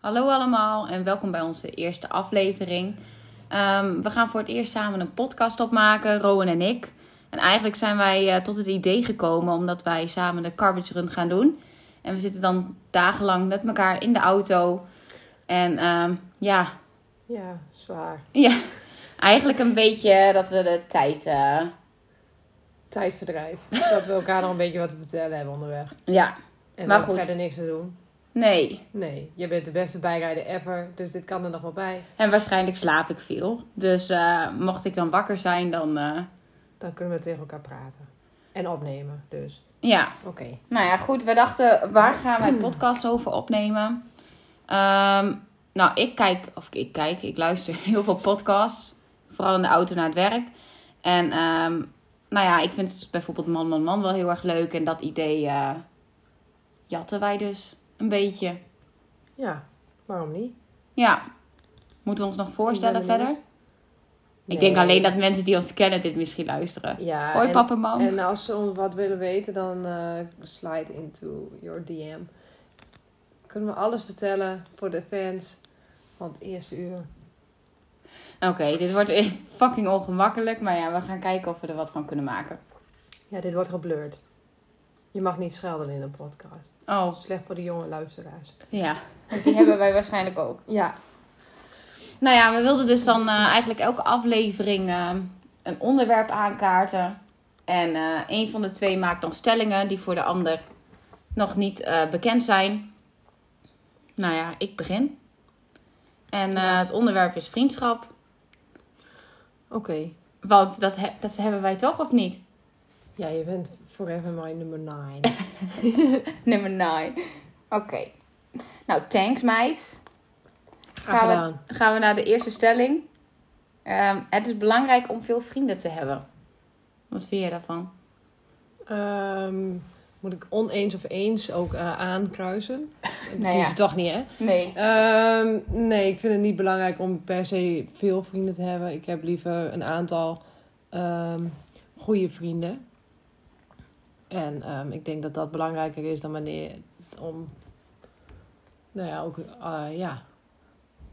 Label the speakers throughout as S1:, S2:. S1: Hallo allemaal en welkom bij onze eerste aflevering. Ehm, we gaan voor het eerst samen een podcast opmaken, Rowan en ik. En eigenlijk zijn wij eh, tot het idee gekomen omdat wij samen de garbage run gaan doen. En we zitten dan dagenlang met elkaar in de auto. En ehm, ja,
S2: Ja, zwaar.
S1: ja, eigenlijk een beetje dat we de tijd... eh,
S2: Tijdverdrijf. dat we elkaar nog een beetje wat te vertellen hebben onderweg.
S1: ja,
S2: En
S1: Maar
S2: we
S1: goed.
S2: verder niks te doen.
S1: nee.
S2: Nee, je bent de beste bijrijder ever, dus dit kan er nog wel bij.
S1: En waarschijnlijk slaap ik veel. Dus eh, mocht ik dan wakker zijn, dan... eh,
S2: Dan kunnen we tegen elkaar praten. En opnemen, dus.
S1: ja,
S2: Oké.
S1: Nou ja, goed. We dachten, waar gaan
S2: Hmm.
S1: wij podcasts over opnemen? Ehm, nou, ik kijk, of ik kijk, ik luister heel veel podcasts. Vooral in de auto naar het werk. En ehm, nou ja, ik vind dus bijvoorbeeld Man, Man, Man wel heel erg leuk. En dat idee eh, jatten wij dus een beetje.
S2: Ja, waarom niet?
S1: Ja. Moeten we ons nog voorstellen
S2: Ik ben
S1: verder?
S2: benieuwd.
S1: Ik denk
S2: Nee.
S1: alleen dat mensen die ons kennen dit misschien luisteren.
S2: Ja,
S1: Hoi
S2: en,
S1: papa, mam.
S2: En als ze ons wat willen weten, dan eh, slide into your DM. Kunnen we alles vertellen voor de fans van het eerste uur.
S1: Oké, dit wordt fucking ongemakkelijk. Maar ja, we gaan kijken of we er wat van kunnen maken.
S2: Ja, dit wordt geblurred. Je mag niet schelden in een podcast.
S1: Oh,
S2: Slecht voor de jonge luisteraars.
S1: Ja, want die hebben wij waarschijnlijk ook.
S2: Ja.
S1: Nou ja, we wilden dus dan eh, eigenlijk elke aflevering eh, een onderwerp aankaarten. En eh, een van de twee maakt dan stellingen die voor de ander nog niet eh, bekend zijn. Nou ja, ik begin. En eh, het onderwerp is vriendschap.
S2: Oké.
S1: Want dat, he- dat hebben wij toch, of niet?
S2: Ja, je bent forever my nummer 9.
S1: Nummer 9. Oké. Nou, thanks meid.
S2: Gaan we...
S1: gaan we naar de eerste stelling. Ehm, het is belangrijk om veel vrienden te hebben. Wat vind je daarvan?
S2: Ehm, moet ik oneens of eens ook eh, aankruisen? Dat
S1: Nou
S2: zien
S1: ja.
S2: ze toch niet, hè?
S1: Nee.
S2: Ehm, nee, ik vind het niet belangrijk om per se veel vrienden te hebben. Ik heb liever een aantal ehm, goede vrienden. En ehm, ik denk dat dat belangrijker is dan wanneer om. Nou ja, ook eh, ja.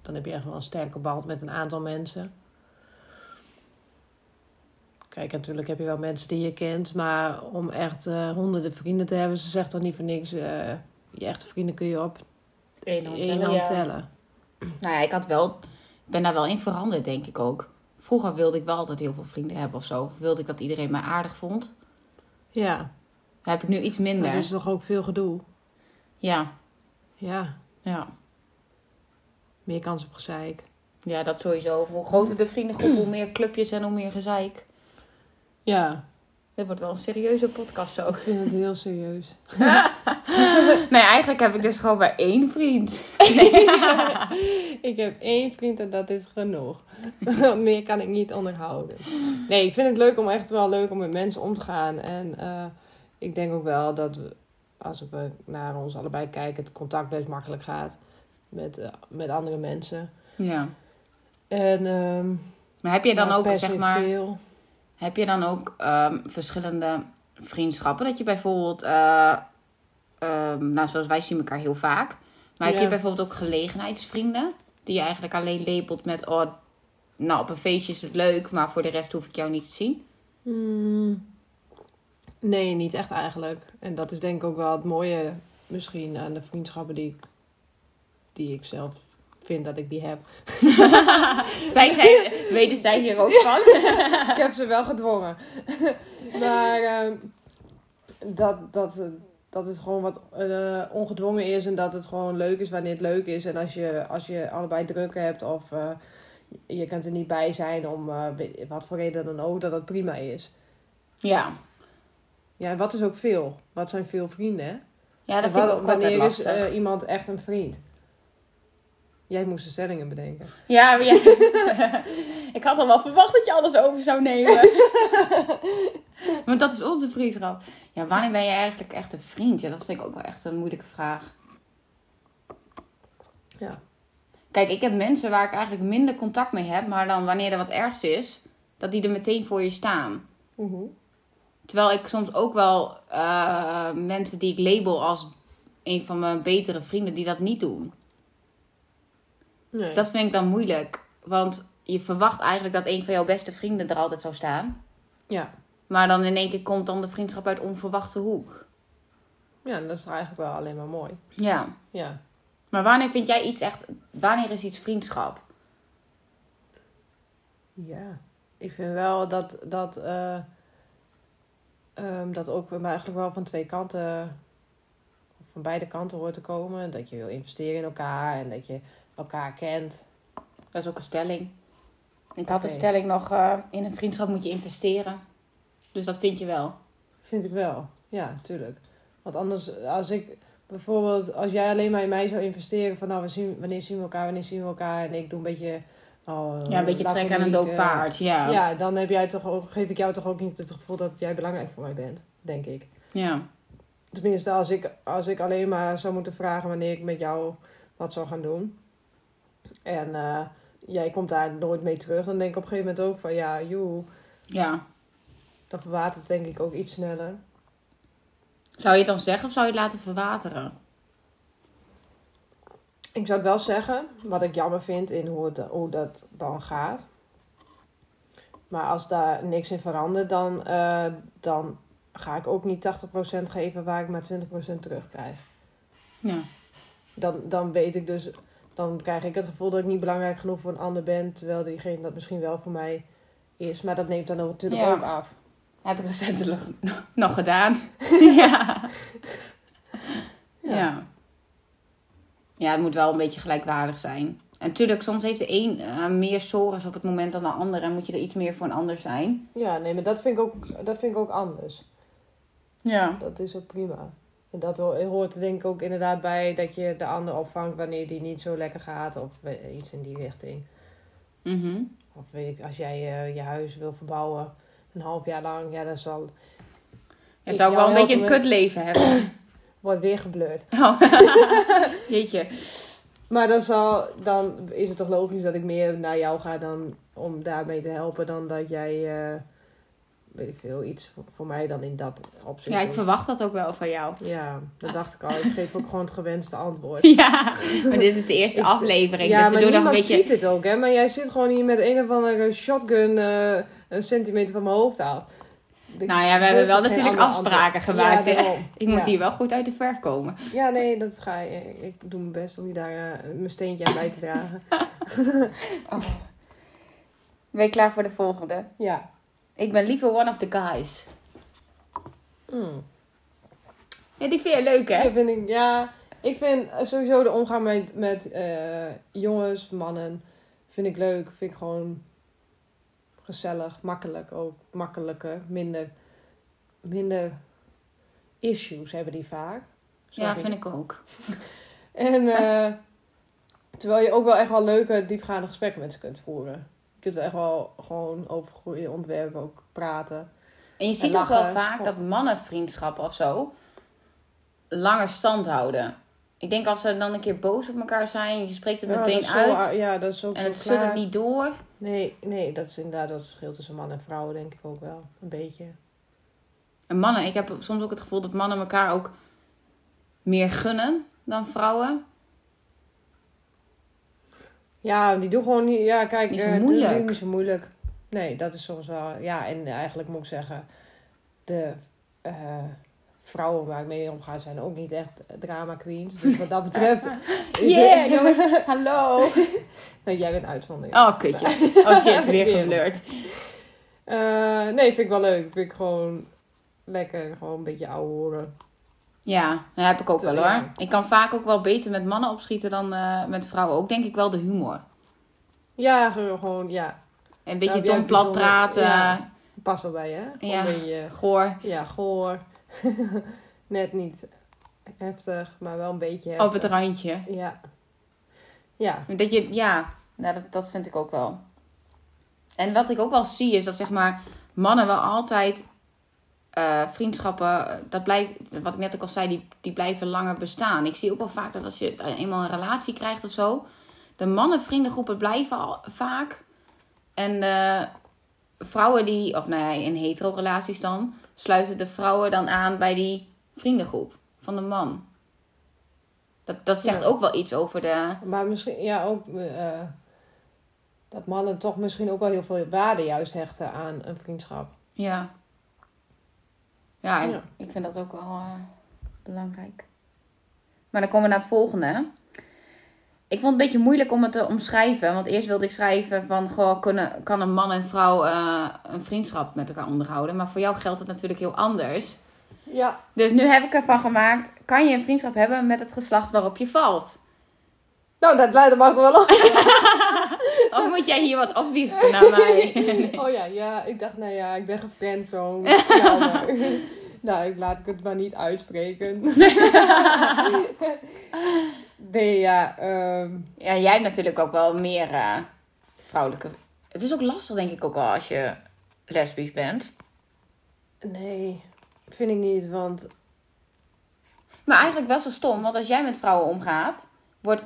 S2: Dan heb je echt wel een sterke band met een aantal mensen. Kijk, natuurlijk heb je wel mensen die je kent, maar om echt eh, honderden vrienden te hebben, ze zegt toch niet voor niks. eh, je echte vrienden kun je op
S1: Eén
S2: één hand tellen.
S1: Nou ja, ik had wel, ik ben daar wel in veranderd, denk ik ook. Vroeger wilde ik wel altijd heel veel vrienden hebben of zo. Wilde ik dat iedereen mij aardig vond.
S2: Ja,
S1: Dat heb ik nu iets
S2: maar dus-
S1: minder.
S2: er is toch ook veel gedoe.
S1: Ja,
S2: Ja,
S1: ja.
S2: meer kans op gezeik.
S1: Ja, dat sowieso. Hoe groter de vriendengroep, hoe meer clubjes en hoe meer gezeik.
S2: Ja,
S1: Dit wordt wel een serieuze podcast zo.
S2: ik vind het heel serieus.
S1: Nee, eigenlijk heb ik dus gewoon maar één vriend.
S2: ik heb één vriend en dat is genoeg. meer kan ik niet onderhouden. Nee, ik vind het leuk om echt wel leuk om met mensen om te gaan. En eh, ik denk ook wel dat we, als we naar ons allebei kijken, het contact best makkelijk gaat met, eh, met andere mensen.
S1: Ja.
S2: En ehm,
S1: Maar heb je dan
S2: maar
S1: ook,
S2: Nou, per
S1: zeg
S2: se
S1: maar...
S2: Veel.
S1: Heb je dan ook ehm, verschillende vriendschappen? Dat je bijvoorbeeld, eh, ehm, nou zoals wij zien elkaar heel vaak. Maar heb
S2: Ja.
S1: je bijvoorbeeld ook gelegenheidsvrienden? Die je eigenlijk alleen labelt met, oh, nou op een feestje is het leuk, maar voor de rest hoef ik jou niet te zien.
S2: Mm, nee, niet echt eigenlijk. En dat is denk ik ook wel het mooie misschien aan de vriendschappen die ik, die ik zelf vind dat ik die heb.
S1: Zij zijn, weten zij hier ook van?
S2: ik heb ze wel gedwongen. maar ehm, dat, dat, dat het gewoon wat eh, ongedwongen is en dat het gewoon leuk is wanneer het leuk is. En als je, als je allebei druk hebt of eh, je kunt er niet bij zijn om eh, weet- wat voor reden dan ook, dat dat prima is.
S1: Ja,
S2: Ja, en wat is ook veel? Wat zijn veel vrienden, hè?
S1: ja dat
S2: Wa-
S1: vind ik ook altijd
S2: wanneer is
S1: lastig.
S2: eh, iemand echt een vriend? Jij moest de stellingen bedenken.
S1: Ja, maar ja. ik had al wel verwacht dat je alles over zou nemen. Want dat is onze vriendschap. Ja, wanneer ben je eigenlijk echt een vriend? Ja, dat vind ik ook wel echt een moeilijke vraag.
S2: Ja.
S1: Kijk, ik heb mensen waar ik eigenlijk minder contact mee heb, maar dan wanneer er wat ergs is, dat die er meteen voor je staan. Terwijl ik soms ook wel eh, mensen die ik label als een van mijn betere vrienden, die dat niet doen.
S2: Nee.
S1: Dus dat vind ik dan moeilijk. Want je verwacht eigenlijk dat een van jouw beste vrienden er altijd zou staan.
S2: Ja.
S1: Maar dan in één keer komt dan de vriendschap uit onverwachte hoek.
S2: ja, dat is eigenlijk wel alleen maar mooi.
S1: Ja.
S2: Ja.
S1: Maar wanneer vind jij iets echt... Wanneer is iets vriendschap?
S2: Ja. Ik vind wel dat dat, eh, ehm, dat ook maar eigenlijk wel van twee kanten, of van beide kanten hoort te komen. Dat je wil investeren in elkaar en dat je elkaar kent.
S1: Dat is ook een stelling. Ik had de
S2: Oké.
S1: stelling nog... eh, in een vriendschap moet je investeren. Dus dat vind je wel.
S2: Vind ik wel. Ja, tuurlijk. Want anders, als ik bijvoorbeeld, als jij alleen maar in mij zou investeren van nou, we zien, wanneer zien we elkaar, wanneer zien we elkaar. En ik doe een beetje. Oh,
S1: Ja, een beetje trek aan een
S2: laconiek,
S1: dood
S2: eh,
S1: paard. Ja. ja.
S2: Ja, dan heb jij toch ook, geef ik jou toch ook niet het gevoel dat jij belangrijk voor mij bent, denk ik. Tenminste, als ik, als ik alleen maar zou moeten vragen wanneer ik met jou wat zou gaan doen. En eh, jij komt daar nooit mee terug, dan denk ik op een gegeven moment ook van ja, joe,
S1: Ja.
S2: dan verwatert denk ik ook iets sneller.
S1: Zou je het dan zeggen of zou je het laten verwateren?
S2: Ik zou het wel zeggen, wat ik jammer vind in hoe, het, hoe dat dan gaat. Maar als daar niks in verandert, dan, eh, dan ga ik ook niet 80% geven waar ik maar 20% terugkrijg.
S1: Ja.
S2: dan, dan weet ik dus, dan krijg ik het gevoel dat ik niet belangrijk genoeg voor een ander ben, terwijl diegene dat misschien wel voor mij is. Maar dat neemt dan natuurlijk
S1: Ja.
S2: ook af.
S1: Heb ik recentelijk nog gedaan. ja.
S2: Ja.
S1: ja. Ja, het moet wel een beetje gelijkwaardig zijn. En natuurlijk, soms heeft de een eh, meer sores op het moment dan de ander. En moet je er iets meer voor een ander zijn.
S2: Ja, nee, maar dat vind ik ook, dat vind ik ook anders.
S1: Ja.
S2: Dat is ook prima. En dat ho- hoort er denk ik ook inderdaad bij dat je de ander opvangt wanneer die niet zo lekker gaat of we- iets in die richting.
S1: Mhm.
S2: Of weet ik, als jij eh, je huis wil verbouwen een half jaar lang, ja, dan zal,
S1: Je
S2: Ik
S1: zou ook wel
S2: jou
S1: een beetje een
S2: helpen
S1: kutleven hebben.
S2: wordt weer geblurred.
S1: Oh. Jeetje.
S2: Maar dan, zal, dan is het toch logisch dat ik meer naar jou ga dan om daarmee te helpen dan dat jij, eh, weet ik veel, iets voor, voor mij dan in dat opzicht
S1: Ja, ik
S2: doet.
S1: verwacht dat ook wel van jou.
S2: Ja, dat dacht ik al. Ik geef ook gewoon het gewenste antwoord.
S1: Ja, maar dit is de eerste
S2: Ik-
S1: aflevering.
S2: ja,
S1: dus we doen
S2: maar
S1: nog een
S2: niemand
S1: beetje...
S2: ziet het ook, hè. Maar jij zit gewoon hier met een of andere shotgun eh, een centimeter van mijn hoofd af. Ik
S1: Nou ja, we hebben
S2: durf
S1: wel
S2: geen
S1: natuurlijk
S2: ander
S1: afspraken
S2: antwoord.
S1: gemaakt.
S2: Ja,
S1: hè.
S2: daarom.
S1: Ik moet
S2: Ja.
S1: hier wel goed uit de verf komen.
S2: Ja, nee, dat ga ik. Ik doe mijn best om je daar eh, mijn steentje aan bij te dragen.
S1: Ben je klaar voor de volgende?
S2: Ja.
S1: Ik ben liever one of the guys.
S2: Mm.
S1: Ja, die vind je leuk, hè?
S2: Ja, vind ik, ja, ik vind eh, sowieso de omgang met, met eh, jongens, mannen, vind ik leuk. Vind ik gewoon gezellig, makkelijk ook. Makkelijker, minder, minder issues hebben die vaak.
S1: Ja, vind ik ook.
S2: En eh, terwijl je ook wel echt wel leuke, diepgaande gesprekken met ze kunt voeren. Je kunt wel echt wel gewoon over goede onderwerpen ook praten.
S1: En je ziet ook
S2: lachen.
S1: wel vaak dat mannenvriendschappen of zo langer stand houden. Ik denk als ze dan een keer boos op elkaar zijn, je spreekt het
S2: Ja, dat
S1: meteen
S2: is zo a-
S1: uit
S2: ja, dat is ook
S1: en
S2: zo
S1: het zult
S2: klaar.
S1: het niet door.
S2: Nee, nee, dat is inderdaad het verschil tussen man en vrouw, denk ik ook wel. Een beetje.
S1: En mannen, ik heb soms ook het gevoel dat mannen elkaar ook meer gunnen dan vrouwen.
S2: Ja, die doen gewoon niet. Ja, kijk,
S1: Niet zo
S2: eh, die
S1: moeilijk.
S2: doen niet zo moeilijk. Nee, dat is soms wel. Ja, en eigenlijk moet ik zeggen, de eh, vrouwen waar ik mee omga zijn ook niet echt drama queens. Dus wat dat betreft. is
S1: Yeah,
S2: het-
S1: jongens, hallo.
S2: nee, jij bent uitzondering.
S1: Oh, kutje. Oh shit, weer
S2: Weer.
S1: geblurred.
S2: Eh, nee, vind ik wel leuk. Vind ik gewoon lekker, gewoon een beetje ouwe horen.
S1: Ja, dat heb ik ook wel hoor.
S2: Ja.
S1: Ik kan vaak ook wel beter met mannen opschieten dan eh, met vrouwen. Ook denk ik wel de humor.
S2: Ja, gewoon, gewoon, ja.
S1: Een
S2: Nou,
S1: beetje
S2: die
S1: dom
S2: heb
S1: plat
S2: ik bijzonder.
S1: praten,
S2: Ja. Pas wel bij, hè? Gewoon
S1: Ja.
S2: Een beetje,
S1: goor.
S2: ja, goor. Net niet heftig, maar wel een beetje.
S1: Op het
S2: heftig.
S1: randje.
S2: Ja. Ja.
S1: Dat je, ja, nou, dat, dat vind ik ook wel. En wat ik ook wel zie is dat zeg maar mannen wel altijd eh, vriendschappen, dat blijft, wat ik net ook al zei, die, die blijven langer bestaan. Ik zie ook wel vaak dat als je eenmaal een relatie krijgt of zo, de mannenvriendengroepen blijven al vaak. En eh, vrouwen die, of nou ja, in hetero-relaties dan, sluiten de vrouwen dan aan bij die vriendengroep van de man. Dat, dat zegt
S2: Ja.
S1: ook wel iets over de...
S2: Maar misschien, ja, ook eh, dat mannen toch misschien ook wel heel veel waarde juist hechten aan een vriendschap.
S1: Ja. Ja, en
S2: Ja.
S1: ik vind dat ook wel eh, belangrijk. Maar dan komen we naar het volgende. hè. Ik vond het een beetje moeilijk om het te omschrijven. Want eerst wilde ik schrijven van... Goh, kunnen, kan een man en vrouw eh, een vriendschap met elkaar onderhouden? Maar voor jou geldt het natuurlijk heel anders.
S2: Ja.
S1: Dus nu heb ik ervan gemaakt... Kan je een vriendschap hebben met het geslacht waarop je valt?
S2: Nou, dat leidt mag er wel op.
S1: Of moet jij hier wat opbiechten naar mij?
S2: Oh ja, ja, ik dacht, nou ja, ik ben gefriendzoned. Nou, maar- nou, ik laat ik het maar niet uitspreken. nee, ja, ehm,
S1: Ja, jij hebt natuurlijk ook wel meer eh, vrouwelijke. Het is ook lastig, denk ik, ook wel als je lesbisch bent.
S2: nee, vind ik niet, want
S1: Maar eigenlijk wel zo stom, want als jij met vrouwen omgaat, wordt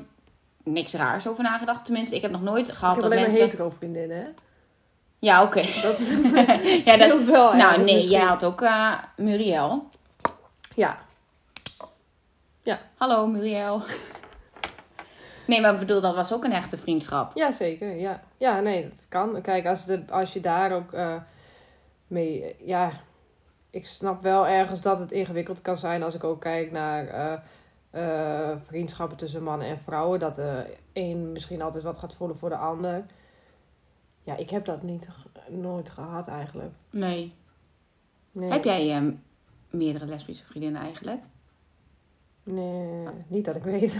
S1: niks raars over nagedacht. Tenminste, ik heb nog nooit gehad
S2: ik heb
S1: dat
S2: alleen
S1: mensen.
S2: maar hetero vriendinnen, hè?
S1: Ja, oké.
S2: Dat is
S1: Ja, dat-
S2: scheelt wel.
S1: nou, nee,
S2: eigenlijk misschien.
S1: jij had ook eh, Muriel.
S2: Ja,
S1: Hallo, Muriel. Nee, maar ik bedoel, dat was ook een echte vriendschap.
S2: Ja, zeker. Ja, ja nee, dat kan. Kijk, als, de, als je daar ook eh, mee. eh, ja, ik snap wel ergens dat het ingewikkeld kan zijn als ik ook kijk naar eh, eh, vriendschappen tussen mannen en vrouwen. Dat de een misschien altijd wat gaat voelen voor de ander. Ja, ik heb dat niet, ge- nooit gehad eigenlijk.
S1: Nee.
S2: Nee,
S1: Heb jij eh, meerdere lesbische vriendinnen eigenlijk?
S2: Nee, niet dat ik weet.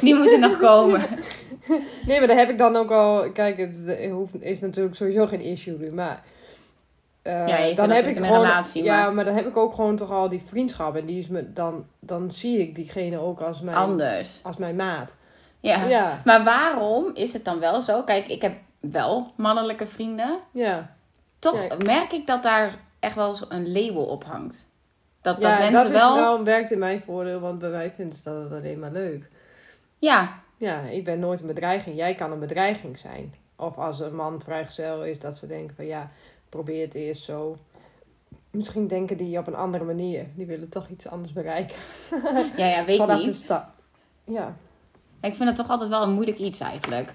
S1: Die moeten nog komen.
S2: Nee, maar daar heb ik dan ook al. Kijk, het eh, hoeft, is natuurlijk sowieso geen issue nu, maar. eh,
S1: Ja, je zit
S2: dan heb
S1: natuurlijk
S2: ik
S1: in een
S2: gewoon,
S1: relatie,
S2: Ja,
S1: maar-
S2: maar... dan heb ik ook gewoon toch al die vriendschap. En die is me, dan, dan zie ik diegene ook als mijn,
S1: Anders.
S2: als mijn maat.
S1: Ja.
S2: Ja,
S1: Maar waarom is het dan wel zo? Kijk, ik heb wel mannelijke vrienden.
S2: ja.
S1: Toch
S2: Ja.
S1: merk ik dat daar echt wel eens een label op hangt. Dat, dat
S2: ja,
S1: mensen
S2: dat is
S1: wel...
S2: wel werkt in mijn voordeel, want bij mij vinden ze dat alleen maar leuk.
S1: Ja,
S2: Ja, ik ben nooit een bedreiging. Jij kan een bedreiging zijn. Of als een man vrijgezel is, dat ze denken van ja, probeer het eerst zo. Misschien denken die op een andere manier. Die willen toch iets anders bereiken.
S1: ja, ja weet
S2: Vanaf de
S1: niet.
S2: stad. Ja.
S1: Ik vind het toch altijd wel een moeilijk iets eigenlijk.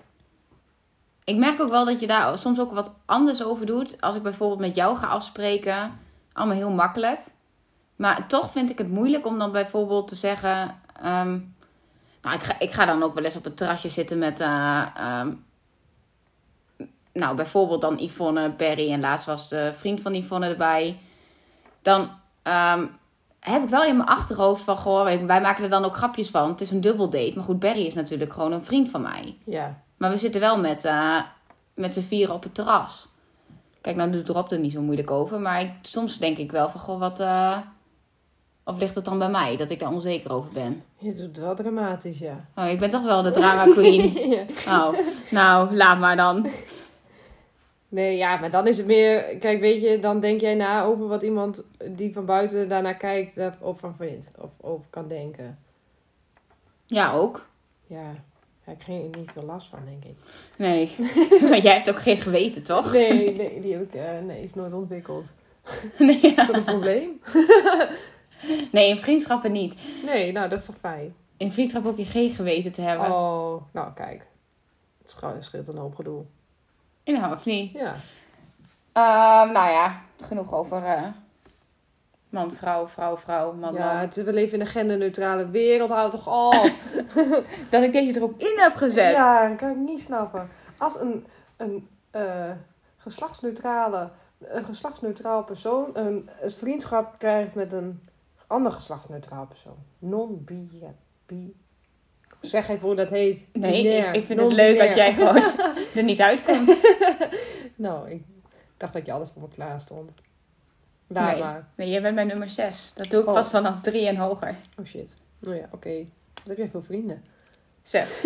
S1: Ik merk ook wel dat je daar soms ook wat anders over doet. Als ik bijvoorbeeld met jou ga afspreken. Allemaal heel makkelijk. Maar toch vind ik het moeilijk om dan bijvoorbeeld te zeggen... ehm, nou, ik ga, ik ga dan ook wel eens op het terrasje zitten met... eh, ehm, nou, bijvoorbeeld dan Yvonne, Perry en laatst was de vriend van Yvonne erbij. Dan ehm, heb ik wel in mijn achterhoofd van, goh, wij wij maken er dan ook grapjes van. Het is een dubbeldate. Maar goed, Barry is natuurlijk gewoon een vriend van mij.
S2: Ja.
S1: Maar we zitten wel met, eh, met z'n vieren op het terras. Kijk, nou doet Rob er niet zo moeilijk over. Maar ik- soms denk ik wel van, goh, wat... eh, of ligt het dan bij mij, dat ik daar onzeker over ben?
S2: Je doet het wel dramatisch, ja.
S1: Oh, ik ben toch wel de drama queen.
S2: Ja.
S1: Oh, nou, laat maar dan.
S2: Nee, ja, maar dan is het meer... Kijk, weet je, dan denk jij na over wat iemand die van buiten daarnaar kijkt... eh, of van vindt, of over kan denken.
S1: Ja, ook.
S2: Ja, ja ik kreeg er niet veel last van, denk ik.
S1: Nee, maar jij hebt ook geen geweten, toch?
S2: Nee, nee, die heb ik... eh, nee, is nooit ontwikkeld.
S1: Nee,
S2: Is dat een probleem?
S1: nee in vriendschappen niet.
S2: Nee, nou, dat is toch fijn.
S1: In vriendschap hoef je geen geweten te hebben.
S2: Oh, nou, kijk. Het scha- scheelt een hoop gedoe.
S1: Nou, of niet?
S2: Ja.
S1: Ehm, nou ja, genoeg over eh, man, vrouw, vrouw, vrouw, man,
S2: Ja,
S1: man.
S2: het, we leven in een genderneutrale wereld. Houd toch op!
S1: Dat ik deze er ook in heb gezet.
S2: Ja, dat kan ik niet snappen. Als een, een, eh, geslachtsneutrale, een geslachtsneutraal persoon een, een vriendschap krijgt met een ander geslachtsneutraal persoon. Non-bi. bi- Zeg even hoe dat heet.
S1: nee,
S2: Binair.
S1: ik, ik vind het
S2: Non-binair.
S1: leuk dat jij gewoon er niet uitkomt.
S2: Nou, ik dacht dat je alles voor me klaar stond. Daar
S1: Nee.
S2: maar.
S1: Nee, jij bent mijn nummer 6. Dat doe ik
S2: Oh.
S1: pas vanaf 3 en hoger.
S2: Oh shit. Nou ja, oké. Dan heb jij veel vrienden.
S1: 6.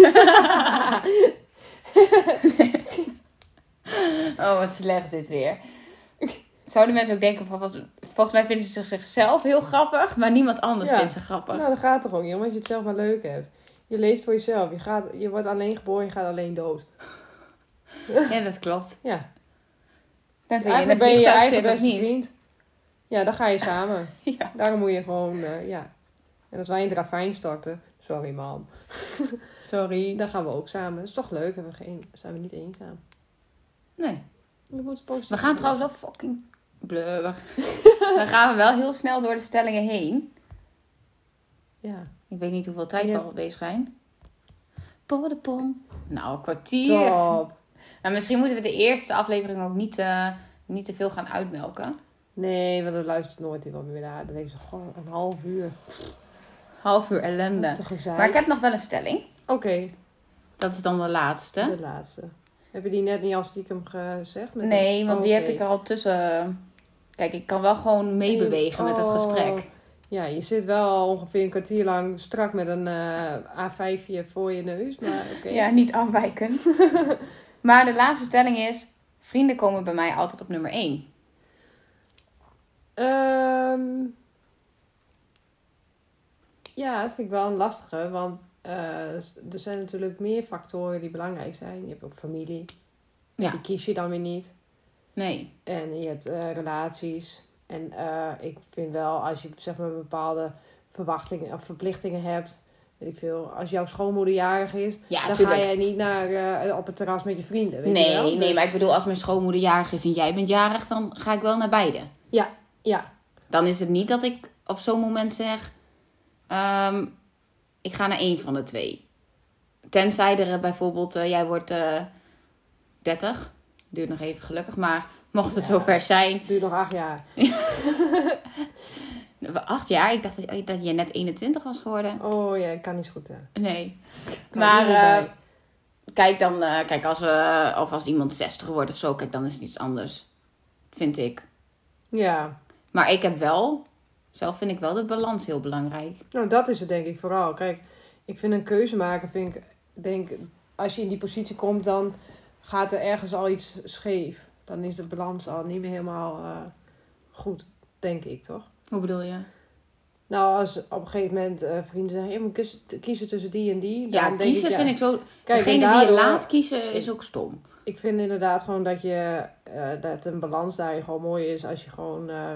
S1: oh, wat slecht dit weer. Zouden mensen ook denken van, wat, volgens mij vinden ze zichzelf heel grappig, maar niemand anders
S2: Ja.
S1: vindt ze grappig.
S2: Nou, dat gaat toch ook niet om als je het zelf maar leuk hebt. Je leeft voor jezelf. Je, gaat, je wordt alleen geboren, je gaat alleen dood.
S1: Ja, dat klopt.
S2: Ja,
S1: Tenzij je in een
S2: Dus Eigenlijk ben je je
S1: vliegtuig
S2: eigen
S1: zit of
S2: beste
S1: niet.
S2: vriend. Ja, dan ga je samen.
S1: Ja.
S2: Daarom moet je gewoon, eh, ja. En als wij in het ravijn starten, sorry mam,
S1: Sorry.
S2: dan gaan we ook samen. Dat is toch leuk, hebben we geen, zijn we niet eenzaam.
S1: Nee.
S2: We moeten positief
S1: We gaan trouwens wel fucking blubber. Dan gaan we wel heel snel door de stellingen heen.
S2: Ja.
S1: Ik weet niet hoeveel tijd we
S2: Ja.
S1: al bezig zijn. Podepom. Nou, een kwartier.
S2: Top.
S1: En misschien moeten we de eerste aflevering ook niet, eh, niet te veel gaan uitmelken.
S2: Nee, want dat luistert nooit iemand meer naar. Dat heeft ze gewoon een half uur
S1: Half uur ellende.
S2: te gezeik.
S1: Maar ik heb nog wel een stelling.
S2: Oké,
S1: Dat is dan de laatste.
S2: de laatste. Heb je die net niet al stiekem gezegd? met-
S1: Nee, want die
S2: Oké.
S1: heb ik er al tussen. Kijk, ik kan wel gewoon meebewegen met het
S2: Oh.
S1: gesprek.
S2: Ja, je zit wel al ongeveer een kwartier lang strak met een eh A5'je voor je neus. Maar oké.
S1: Ja, niet afwijkend. maar de laatste stelling is: vrienden komen bij mij altijd op nummer 1.
S2: Ehm, ja, dat vind ik wel een lastige. Want eh, er zijn natuurlijk meer factoren die belangrijk zijn. Je hebt ook familie.
S1: Ja.
S2: Die kies je dan weer niet.
S1: Nee.
S2: En je hebt eh, relaties. En eh, ik vind wel, als je zeg maar bepaalde verwachtingen of verplichtingen hebt. Weet ik veel, als jouw schoonmoeder jarig is,
S1: Ja,
S2: dan
S1: tuurlijk.
S2: ga jij niet naar, eh, op het terras met je vrienden. Weet je
S1: nee,
S2: wel?
S1: nee,
S2: Dus-
S1: maar ik bedoel, als mijn schoonmoeder jarig is en jij bent jarig, dan ga ik wel naar beide.
S2: Ja,
S1: Dan is het niet dat ik op zo'n moment zeg: ehm, ik ga naar één van de twee. Tenzij er eh, bijvoorbeeld, eh, jij wordt eh 30. Duurt nog even gelukkig, maar mocht het
S2: Ja.
S1: zover zijn.
S2: duurt nog acht jaar.
S1: Acht jaar? Ik dacht dat- dat je net 21 was geworden.
S2: Oh ja, ik kan niet zo goed tellen.
S1: Nee.
S2: Ik kan
S1: Maar
S2: er niet bij.
S1: eh, kijk dan, eh, kijk als, eh, of als iemand 60 wordt of zo, kijk dan is het iets anders. Vind ik.
S2: Ja,
S1: Maar ik heb wel, zelf vind ik wel de balans heel belangrijk.
S2: nou dat is het denk ik vooral. Kijk, ik vind een keuze maken, vind ik, denk, als je in die positie komt, dan gaat er ergens al iets scheef. Dan is de balans al niet meer helemaal eh, goed, denk ik toch?
S1: Hoe bedoel je?
S2: Nou, als op een gegeven moment eh, vrienden zeggen, je moet kus- kiezen tussen die en die.
S1: Ja,
S2: dan denk
S1: kiezen
S2: ik, ja.
S1: vind ik zo.
S2: Kijk, en
S1: degene die
S2: daardoor-
S1: je laat kiezen is ook stom.
S2: Ik vind inderdaad gewoon dat je eh, dat een balans daarin gewoon mooi is als je gewoon, eh,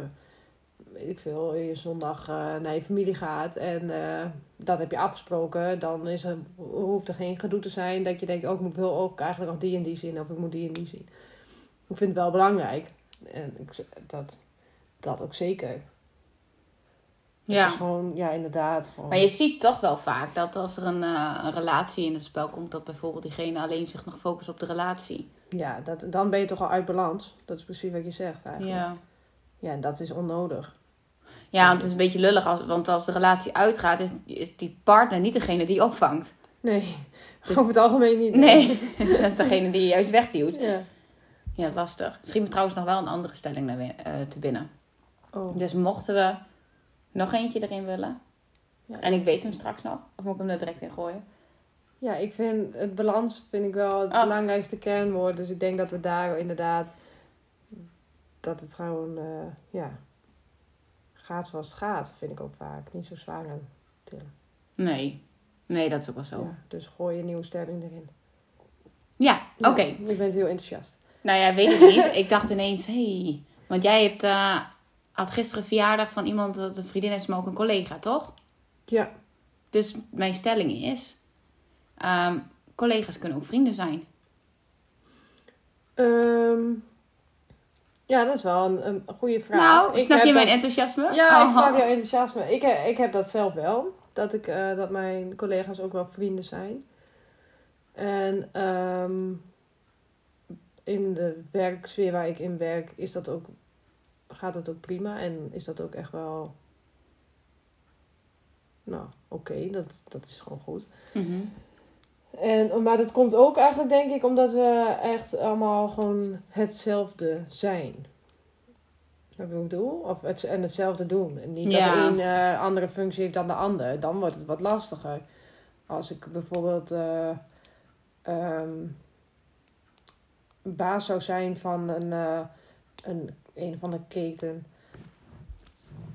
S2: weet ik veel, je zondag eh, naar je familie gaat en eh, dat heb je afgesproken. Dan is er, hoeft er geen gedoe te zijn dat je denkt, oh, ik moet- wil ook eigenlijk nog die en die zien of ik moet die en die zien. Ik vind het wel belangrijk. En ik, z- dat, dat ook zeker. Het is
S1: Ja.
S2: gewoon, ja, inderdaad. Gewoon,
S1: Maar je ziet toch wel vaak dat als er een, eh, een relatie in het spel komt, dat bijvoorbeeld diegene alleen zich nog focust op de relatie.
S2: Ja, dat, dan ben je toch al uit balans. Dat is precies wat je zegt eigenlijk.
S1: Ja.
S2: ja en dat is onnodig.
S1: Ja, want het is een beetje lullig, als, want als de relatie uitgaat, is, is die partner niet degene die opvangt.
S2: Nee, over het algemeen niet.
S1: Nee, dat is degene die je juist wegduwt.
S2: Ja.
S1: Ja, lastig. Misschien trouwens nog wel een andere stelling naar win- eh, te binnen.
S2: Oh.
S1: Dus mochten we nog eentje erin willen.
S2: Ja.
S1: En ik weet hem straks nog. Of moet ik hem er direct in gooien?
S2: Ja, ik vind het balans vind ik wel het
S1: Ah.
S2: belangrijkste kernwoord. Dus ik denk dat we daar inderdaad dat het gewoon eh, ja, gaat zoals het gaat, vind ik ook vaak. Niet zo zwaar aan tillen.
S1: Nee. Nee, dat is ook wel zo. Ja,
S2: Ja, dus gooi een nieuwe stelling erin.
S1: oké.
S2: Ja, ik ben heel enthousiast.
S1: Nou ja, weet ik niet. ik dacht ineens, Hey. Want jij hebt, eh, had gisteren verjaardag van iemand, dat een vriendin is, maar ook een collega, toch?
S2: Ja,
S1: Dus mijn stelling is, ehm, collega's kunnen ook vrienden zijn.
S2: ehm, ja dat is wel een, een goede vraag.
S1: nou,
S2: Ik
S1: snap je
S2: heb
S1: mijn
S2: dat-
S1: enthousiasme?
S2: Ja, ik
S1: Oh.
S2: snap jouw enthousiasme. Ik, eh, ik heb dat zelf wel. Dat, ik, eh, dat mijn collega's ook wel vrienden zijn. En ehm, in de werksfeer waar ik in werk is dat ook, gaat dat ook prima. En is dat ook echt wel... Nou, oké. dat, dat is gewoon goed.
S1: Mhm.
S2: En, maar dat komt ook eigenlijk, denk ik, omdat we echt allemaal gewoon hetzelfde zijn. Snap je wat ik bedoel? Of het, en hetzelfde doen. En niet dat
S1: Ja.
S2: de een eh, andere functie heeft dan de ander. Dan wordt het wat lastiger. Als ik bijvoorbeeld eh, ehm, baas zou zijn van een, eh, een, een van de keten.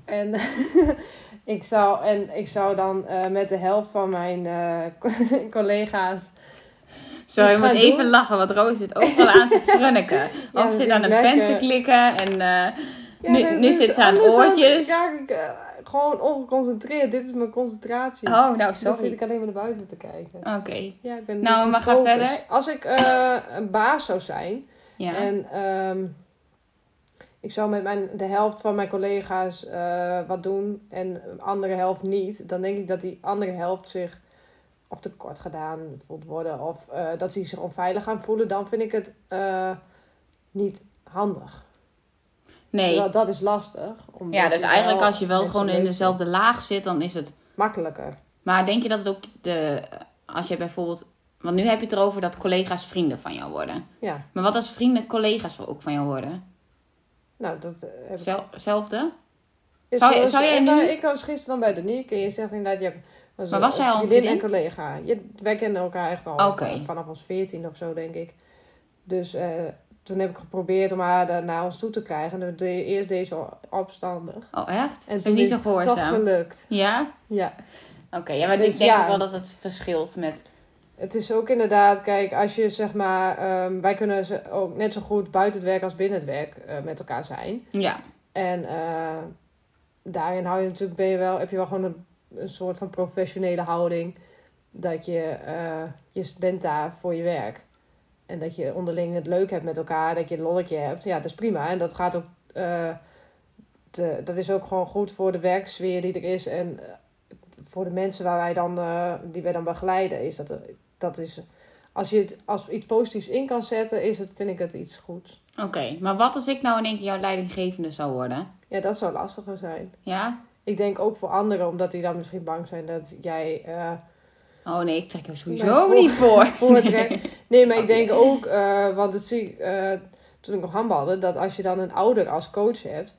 S2: En ik zou, en ik zou dan eh, met de helft van mijn eh, collega's.
S1: Zo,
S2: Iets
S1: je moet
S2: gaan
S1: even
S2: doen?
S1: lachen, want Roos zit ook wel aan te frunniken.
S2: Ja,
S1: of
S2: dat
S1: zit
S2: is
S1: aan een
S2: lekker.
S1: pen te klikken en... eh, Nu-
S2: dat is
S1: nu
S2: iets
S1: zit ze aan
S2: anders dan-
S1: oortjes.
S2: ja, ik, eh, gewoon ongeconcentreerd. Dit is mijn concentratie.
S1: Oh, nou,
S2: Dus Dan zit
S1: sorry.
S2: ik alleen maar naar buiten te kijken.
S1: Oké.
S2: Ja, ik ben
S1: Nou,
S2: niet
S1: maar ga
S2: gefocust.
S1: verder.
S2: Als ik eh, een baas zou zijn
S1: Ja.
S2: en ehm, ik zou met mijn, de helft van mijn collega's eh, wat doen en de andere helft niet, dan denk ik dat die andere helft zich of tekort gedaan voelt worden of eh, dat ze zich onveilig gaan voelen, dan vind ik het eh, niet handig.
S1: nee.
S2: Terwijl dat is lastig. omdat
S1: Ja, dus eigenlijk als je wel
S2: mensen
S1: gewoon in
S2: leuk
S1: dezelfde laag zit, dan is het.
S2: vindt. Makkelijker.
S1: Maar denk je dat het ook de. Als je bijvoorbeeld. Want nu heb je het erover dat collega's vrienden van jou worden.
S2: Ja,
S1: Maar wat als vrienden collega's ook van jou worden?
S2: nou dat eh, heb ik
S1: Zel- Zelfde?
S2: Is
S1: Zou-
S2: zoals-
S1: zou jij
S2: ik,
S1: nu-
S2: wa- eh, Ik was gisteren dan bij Danique en je zegt inderdaad, je hebt was
S1: Maar was zij al een
S2: en collega. Je, wij kennen elkaar echt al
S1: Oké.
S2: eh, vanaf ons veertien of zo, denk ik. Dus eh, toen heb ik geprobeerd om haar daar naar ons toe te krijgen. En we deden eerst deze opstandig.
S1: Oh, echt?
S2: En
S1: dat is niet zo
S2: het toch
S1: gehoorzaam.
S2: gelukt.
S1: Ja?
S2: Ja.
S1: Oké, ja, maar
S2: Dus
S1: ik denk
S2: ja.
S1: ook wel dat het verschilt met.
S2: Het is ook inderdaad, kijk, als je zeg maar, ehm, wij kunnen ze ook net zo goed buiten het werk als binnen het werk eh, met elkaar zijn.
S1: Ja.
S2: En eh, daarin hou je natuurlijk, ben je wel, heb je wel gewoon een, een soort van professionele houding. Dat je, eh, je bent daar voor je werk. En dat je onderling het leuk hebt met elkaar, dat je een lolletje hebt. Ja, dat is prima. En dat gaat ook, eh, te- dat is ook gewoon goed voor de werksfeer die er is. En eh, voor de mensen waar wij dan, eh, die wij dan begeleiden, is dat, dat is, als je het als iets positiefs in kan zetten, is het, vind ik het iets goeds.
S1: Oké, maar wat als ik nou in één keer jouw leidinggevende zou worden?
S2: Ja, dat zou lastiger zijn.
S1: Ja?
S2: Ik denk ook voor anderen, omdat die dan misschien bang zijn dat jij eh
S1: Oh nee, ik trek er
S2: Maar
S1: sowieso
S2: voor-
S1: niet voor.
S2: voortrekt. Nee, maar ik denk ook, eh, want dat zie ik eh, toen ik nog handbalde, dat als je dan een ouder als coach hebt,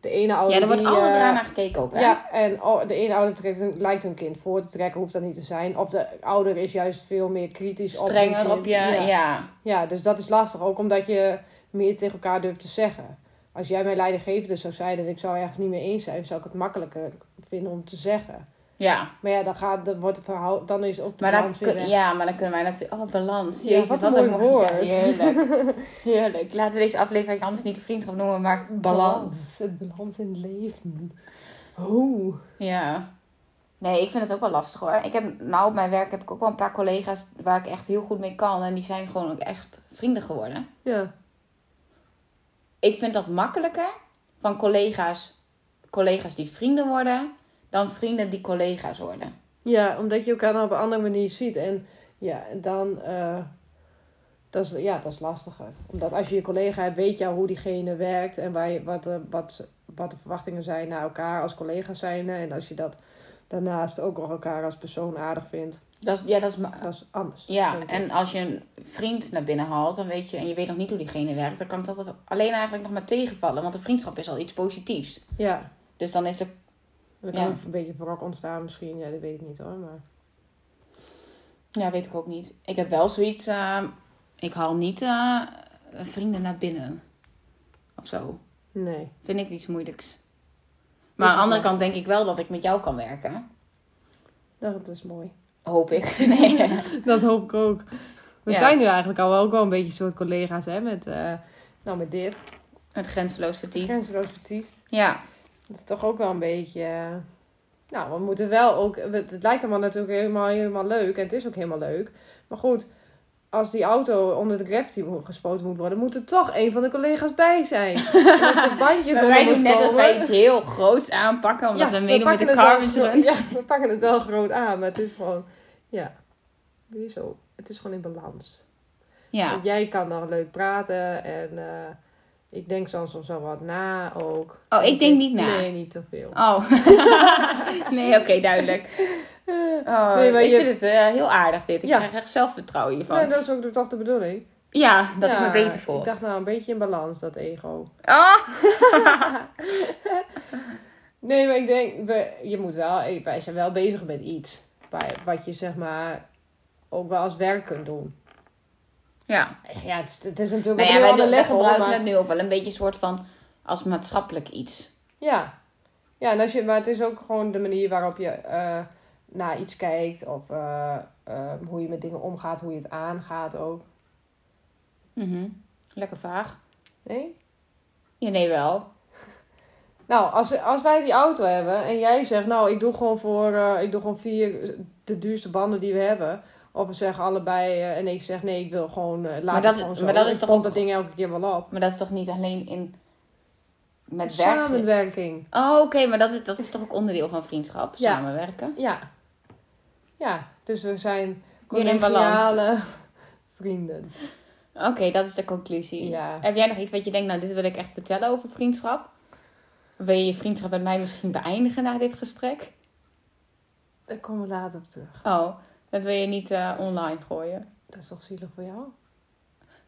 S2: de ene ouder
S1: Ja, er wordt
S2: die,
S1: altijd
S2: eh,
S1: raar naar gekeken ook, hè?
S2: Ja, en o- de ene ouder trekt, een- lijkt hun kind voor te trekken, hoeft dat niet te zijn. Of de ouder is juist veel meer kritisch. op hun
S1: Strenger
S2: kind.
S1: Dus op je... Ja.
S2: Ja, dus dat is lastig. Ook omdat je meer tegen elkaar durft te zeggen. Als jij mijn leidinggevende zou zijn en ik zou ergens niet mee eens zijn, zou ik het makkelijker vinden om te zeggen.
S1: ja.
S2: Maar ja, dan, gaat, dan wordt het verhaal, dan is ook de
S1: Maar dan,
S2: balans weer
S1: kun-
S2: weg.
S1: ja, maar dan kunnen wij natuurlijk... Oh, balans.
S2: Ja,
S1: Jezus,
S2: wat een mooi
S1: ja,
S2: woord.
S1: heerlijk. heerlijk. Laten we deze aflevering anders niet vriendschap noemen, maar balans.
S2: Het balans in het leven. Hoe?
S1: Ja. Nee, ik vind het ook wel lastig hoor. Ik heb, nou, op mijn werk heb ik ook wel een paar collega's waar ik echt heel goed mee kan. En die zijn gewoon ook echt vrienden geworden.
S2: Ja.
S1: Ik vind dat makkelijker van collega's, collega's die vrienden worden, dan vrienden die collega's worden.
S2: ja, omdat je elkaar dan op een andere manier ziet. En ja, dan... eh, dat is, ja, dat is lastiger. Omdat als je je collega hebt, weet je al hoe diegene werkt. En waar je, wat, eh, wat, wat de verwachtingen zijn naar elkaar als collega's zijn. En als je dat daarnaast ook nog elkaar als persoon aardig vindt.
S1: Dat is, ja, dat is ma-
S2: Dat is anders.
S1: ja,
S2: denk ik.
S1: en als je een vriend naar binnen haalt, dan weet je, en je weet nog niet hoe diegene werkt, dan kan dat altijd alleen eigenlijk nog maar tegenvallen. Want een vriendschap is al iets positiefs.
S2: Ja.
S1: Dus dan is de.
S2: Er kan
S1: Ja.
S2: een beetje wrok ontstaan misschien. Ja, dat weet ik niet hoor, maar...
S1: Ja, weet ik ook niet. Ik heb wel zoiets. eh, ik haal niet eh, vrienden naar binnen. Of zo.
S2: Nee.
S1: Vind ik iets moeilijks. Maar aan de andere kant denk ik wel dat ik met jou kan werken.
S2: Dat is mooi.
S1: Hoop ik. Nee.
S2: Dat hoop ik ook. We
S1: Ja.
S2: zijn nu eigenlijk al wel, ook wel een beetje soort collega's, hè? Met, eh, nou, met dit.
S1: Het grenzeloos vertiefd.
S2: Grenzeloos vertiefd.
S1: Ja.
S2: Dat is toch ook wel een beetje... eh, nou, we moeten wel ook... we- Het lijkt allemaal natuurlijk helemaal, helemaal leuk. En het is ook helemaal leuk. Maar goed, als die auto onder de gravity mo- gespoten moet worden... moet er toch een van de collega's bij zijn. En als de bandjes
S1: Maar
S2: onder
S1: wij doen
S2: moet
S1: net dat
S2: komen...
S1: wij iets heel groots aanpakken. Omdat
S2: Ja,
S1: we meedoen met de
S2: pakken het
S1: Carmen
S2: wel gro-
S1: Run.
S2: Ja, we pakken het wel groot aan. Maar het is gewoon... Ja, weer zo. Het is gewoon in balans.
S1: Ja.
S2: Want jij kan dan leuk praten en eh, ik denk dan soms wel wat na ook.
S1: Oh, ik denk niet na.
S2: Nee, niet te veel.
S1: Oh. nee, oké, duidelijk. Oh,
S2: Eh, Nee, maar
S1: ik
S2: je-
S1: vind het eh, heel aardig dit. Ik
S2: Ja.
S1: krijg echt zelfvertrouwen hiervan.
S2: Nee, dat is ook toch de bedoeling?
S1: Ja, dat
S2: Ja,
S1: ik me beter voel.
S2: Ik dacht nou een beetje in balans, dat ego.
S1: Ah!
S2: Nee, maar ik denk, we, je moet wel, wij zijn wel bezig met iets. Bij, wat je zeg maar ook wel als werk kunt doen.
S1: Ja.
S2: Ja, het, is- het is natuurlijk
S1: Nou
S2: ook
S1: ja, wij
S2: een heel
S1: doen-
S2: ander
S1: wij
S2: level,
S1: gebruiken
S2: maar-
S1: het nu ook wel een beetje een soort van als maatschappelijk iets.
S2: Ja. Ja, en als je, maar het is ook gewoon de manier waarop je eh, naar iets kijkt. Of eh, eh, hoe je met dingen omgaat, hoe je het aangaat ook. Mhm.
S1: Lekker vaag.
S2: Nee?
S1: Ja, nee wel.
S2: Nou, als, als wij die auto hebben en jij zegt, nou, ik doe gewoon voor, eh, ik doe gewoon vier de duurste banden die we hebben. Of we zeggen allebei, eh, en ik zeg, nee, ik wil gewoon, eh, laat
S1: Maar
S2: het
S1: dat-
S2: gewoon zo.
S1: maar dat is
S2: Ik
S1: toch
S2: pomp
S1: ook-
S2: dat ding elke keer wel op.
S1: Maar dat is toch niet alleen in... Met werk?
S2: Samenwerking.
S1: Oh, oké, maar dat is, dat is toch ook onderdeel van vriendschap?
S2: Ja.
S1: Samenwerken?
S2: Ja. Ja, dus we zijn
S1: Weer in balans.
S2: collegiale vrienden.
S1: Oké, dat is de conclusie.
S2: Ja.
S1: Heb jij nog iets wat je denkt, nou, dit wil ik echt vertellen over vriendschap? Wil je je vriendschap met mij misschien beëindigen na dit gesprek?
S2: Daar komen we later op terug.
S1: Oh, dat wil je niet eh, online gooien?
S2: Dat is toch zielig voor jou?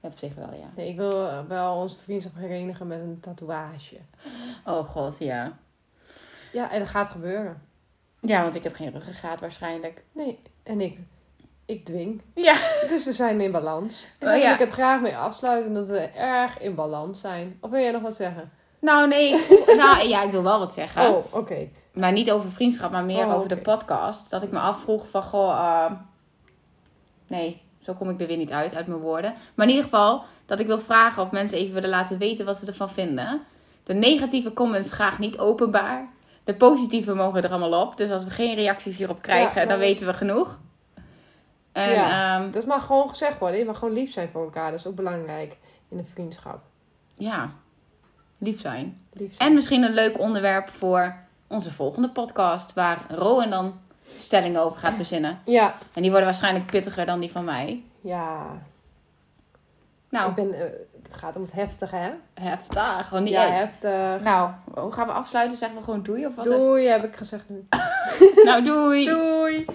S1: Ja, op zich wel, ja.
S2: Nee, ik wil eh, wel onze vriendschap herenigen met een tatoeage.
S1: Oh god, ja.
S2: Ja, en dat gaat gebeuren.
S1: Ja, want ik heb geen ruggengraat waarschijnlijk.
S2: Nee, en ik, ik dwing.
S1: Ja.
S2: Dus we zijn in balans. En
S1: Oh,
S2: daar
S1: ja.
S2: wil ik het graag mee afsluiten dat we erg in balans zijn. Of wil jij nog wat zeggen?
S1: Nou, nee. ik- nou, ja, ik wil wel wat zeggen.
S2: Oh, oké.
S1: Maar niet over vriendschap, maar meer
S2: Oh,
S1: over de
S2: oké.
S1: podcast. Dat ik me afvroeg van, goh... eh, nee, zo kom ik er weer niet uit, uit mijn woorden. Maar in ieder geval, dat ik wil vragen of mensen even willen laten weten wat ze ervan vinden. De negatieve comments graag niet openbaar. De positieve mogen er allemaal op. Dus als we geen reacties hierop krijgen,
S2: Ja,
S1: dan
S2: dat is-
S1: weten we genoeg. En
S2: Ja.
S1: ehm,
S2: Dat mag gewoon gezegd worden. Je mag gewoon lief zijn voor elkaar. Dat is ook belangrijk in een vriendschap.
S1: ja, lief zijn.
S2: Lief zijn.
S1: En misschien een leuk onderwerp voor onze volgende podcast. Waar Rowan dan stellingen over gaat verzinnen.
S2: Ja,
S1: En die worden waarschijnlijk pittiger dan die van mij.
S2: ja.
S1: Nou,
S2: Ik ben, eh, het gaat om het heftige, hè?
S1: heftig. Gewoon niet
S2: ja,
S1: eens.
S2: heftig.
S1: Nou, hoe gaan we afsluiten? Zeggen we gewoon doei of wat?
S2: Doei, heb ik gezegd nu.
S1: Nou, doei.
S2: Doei.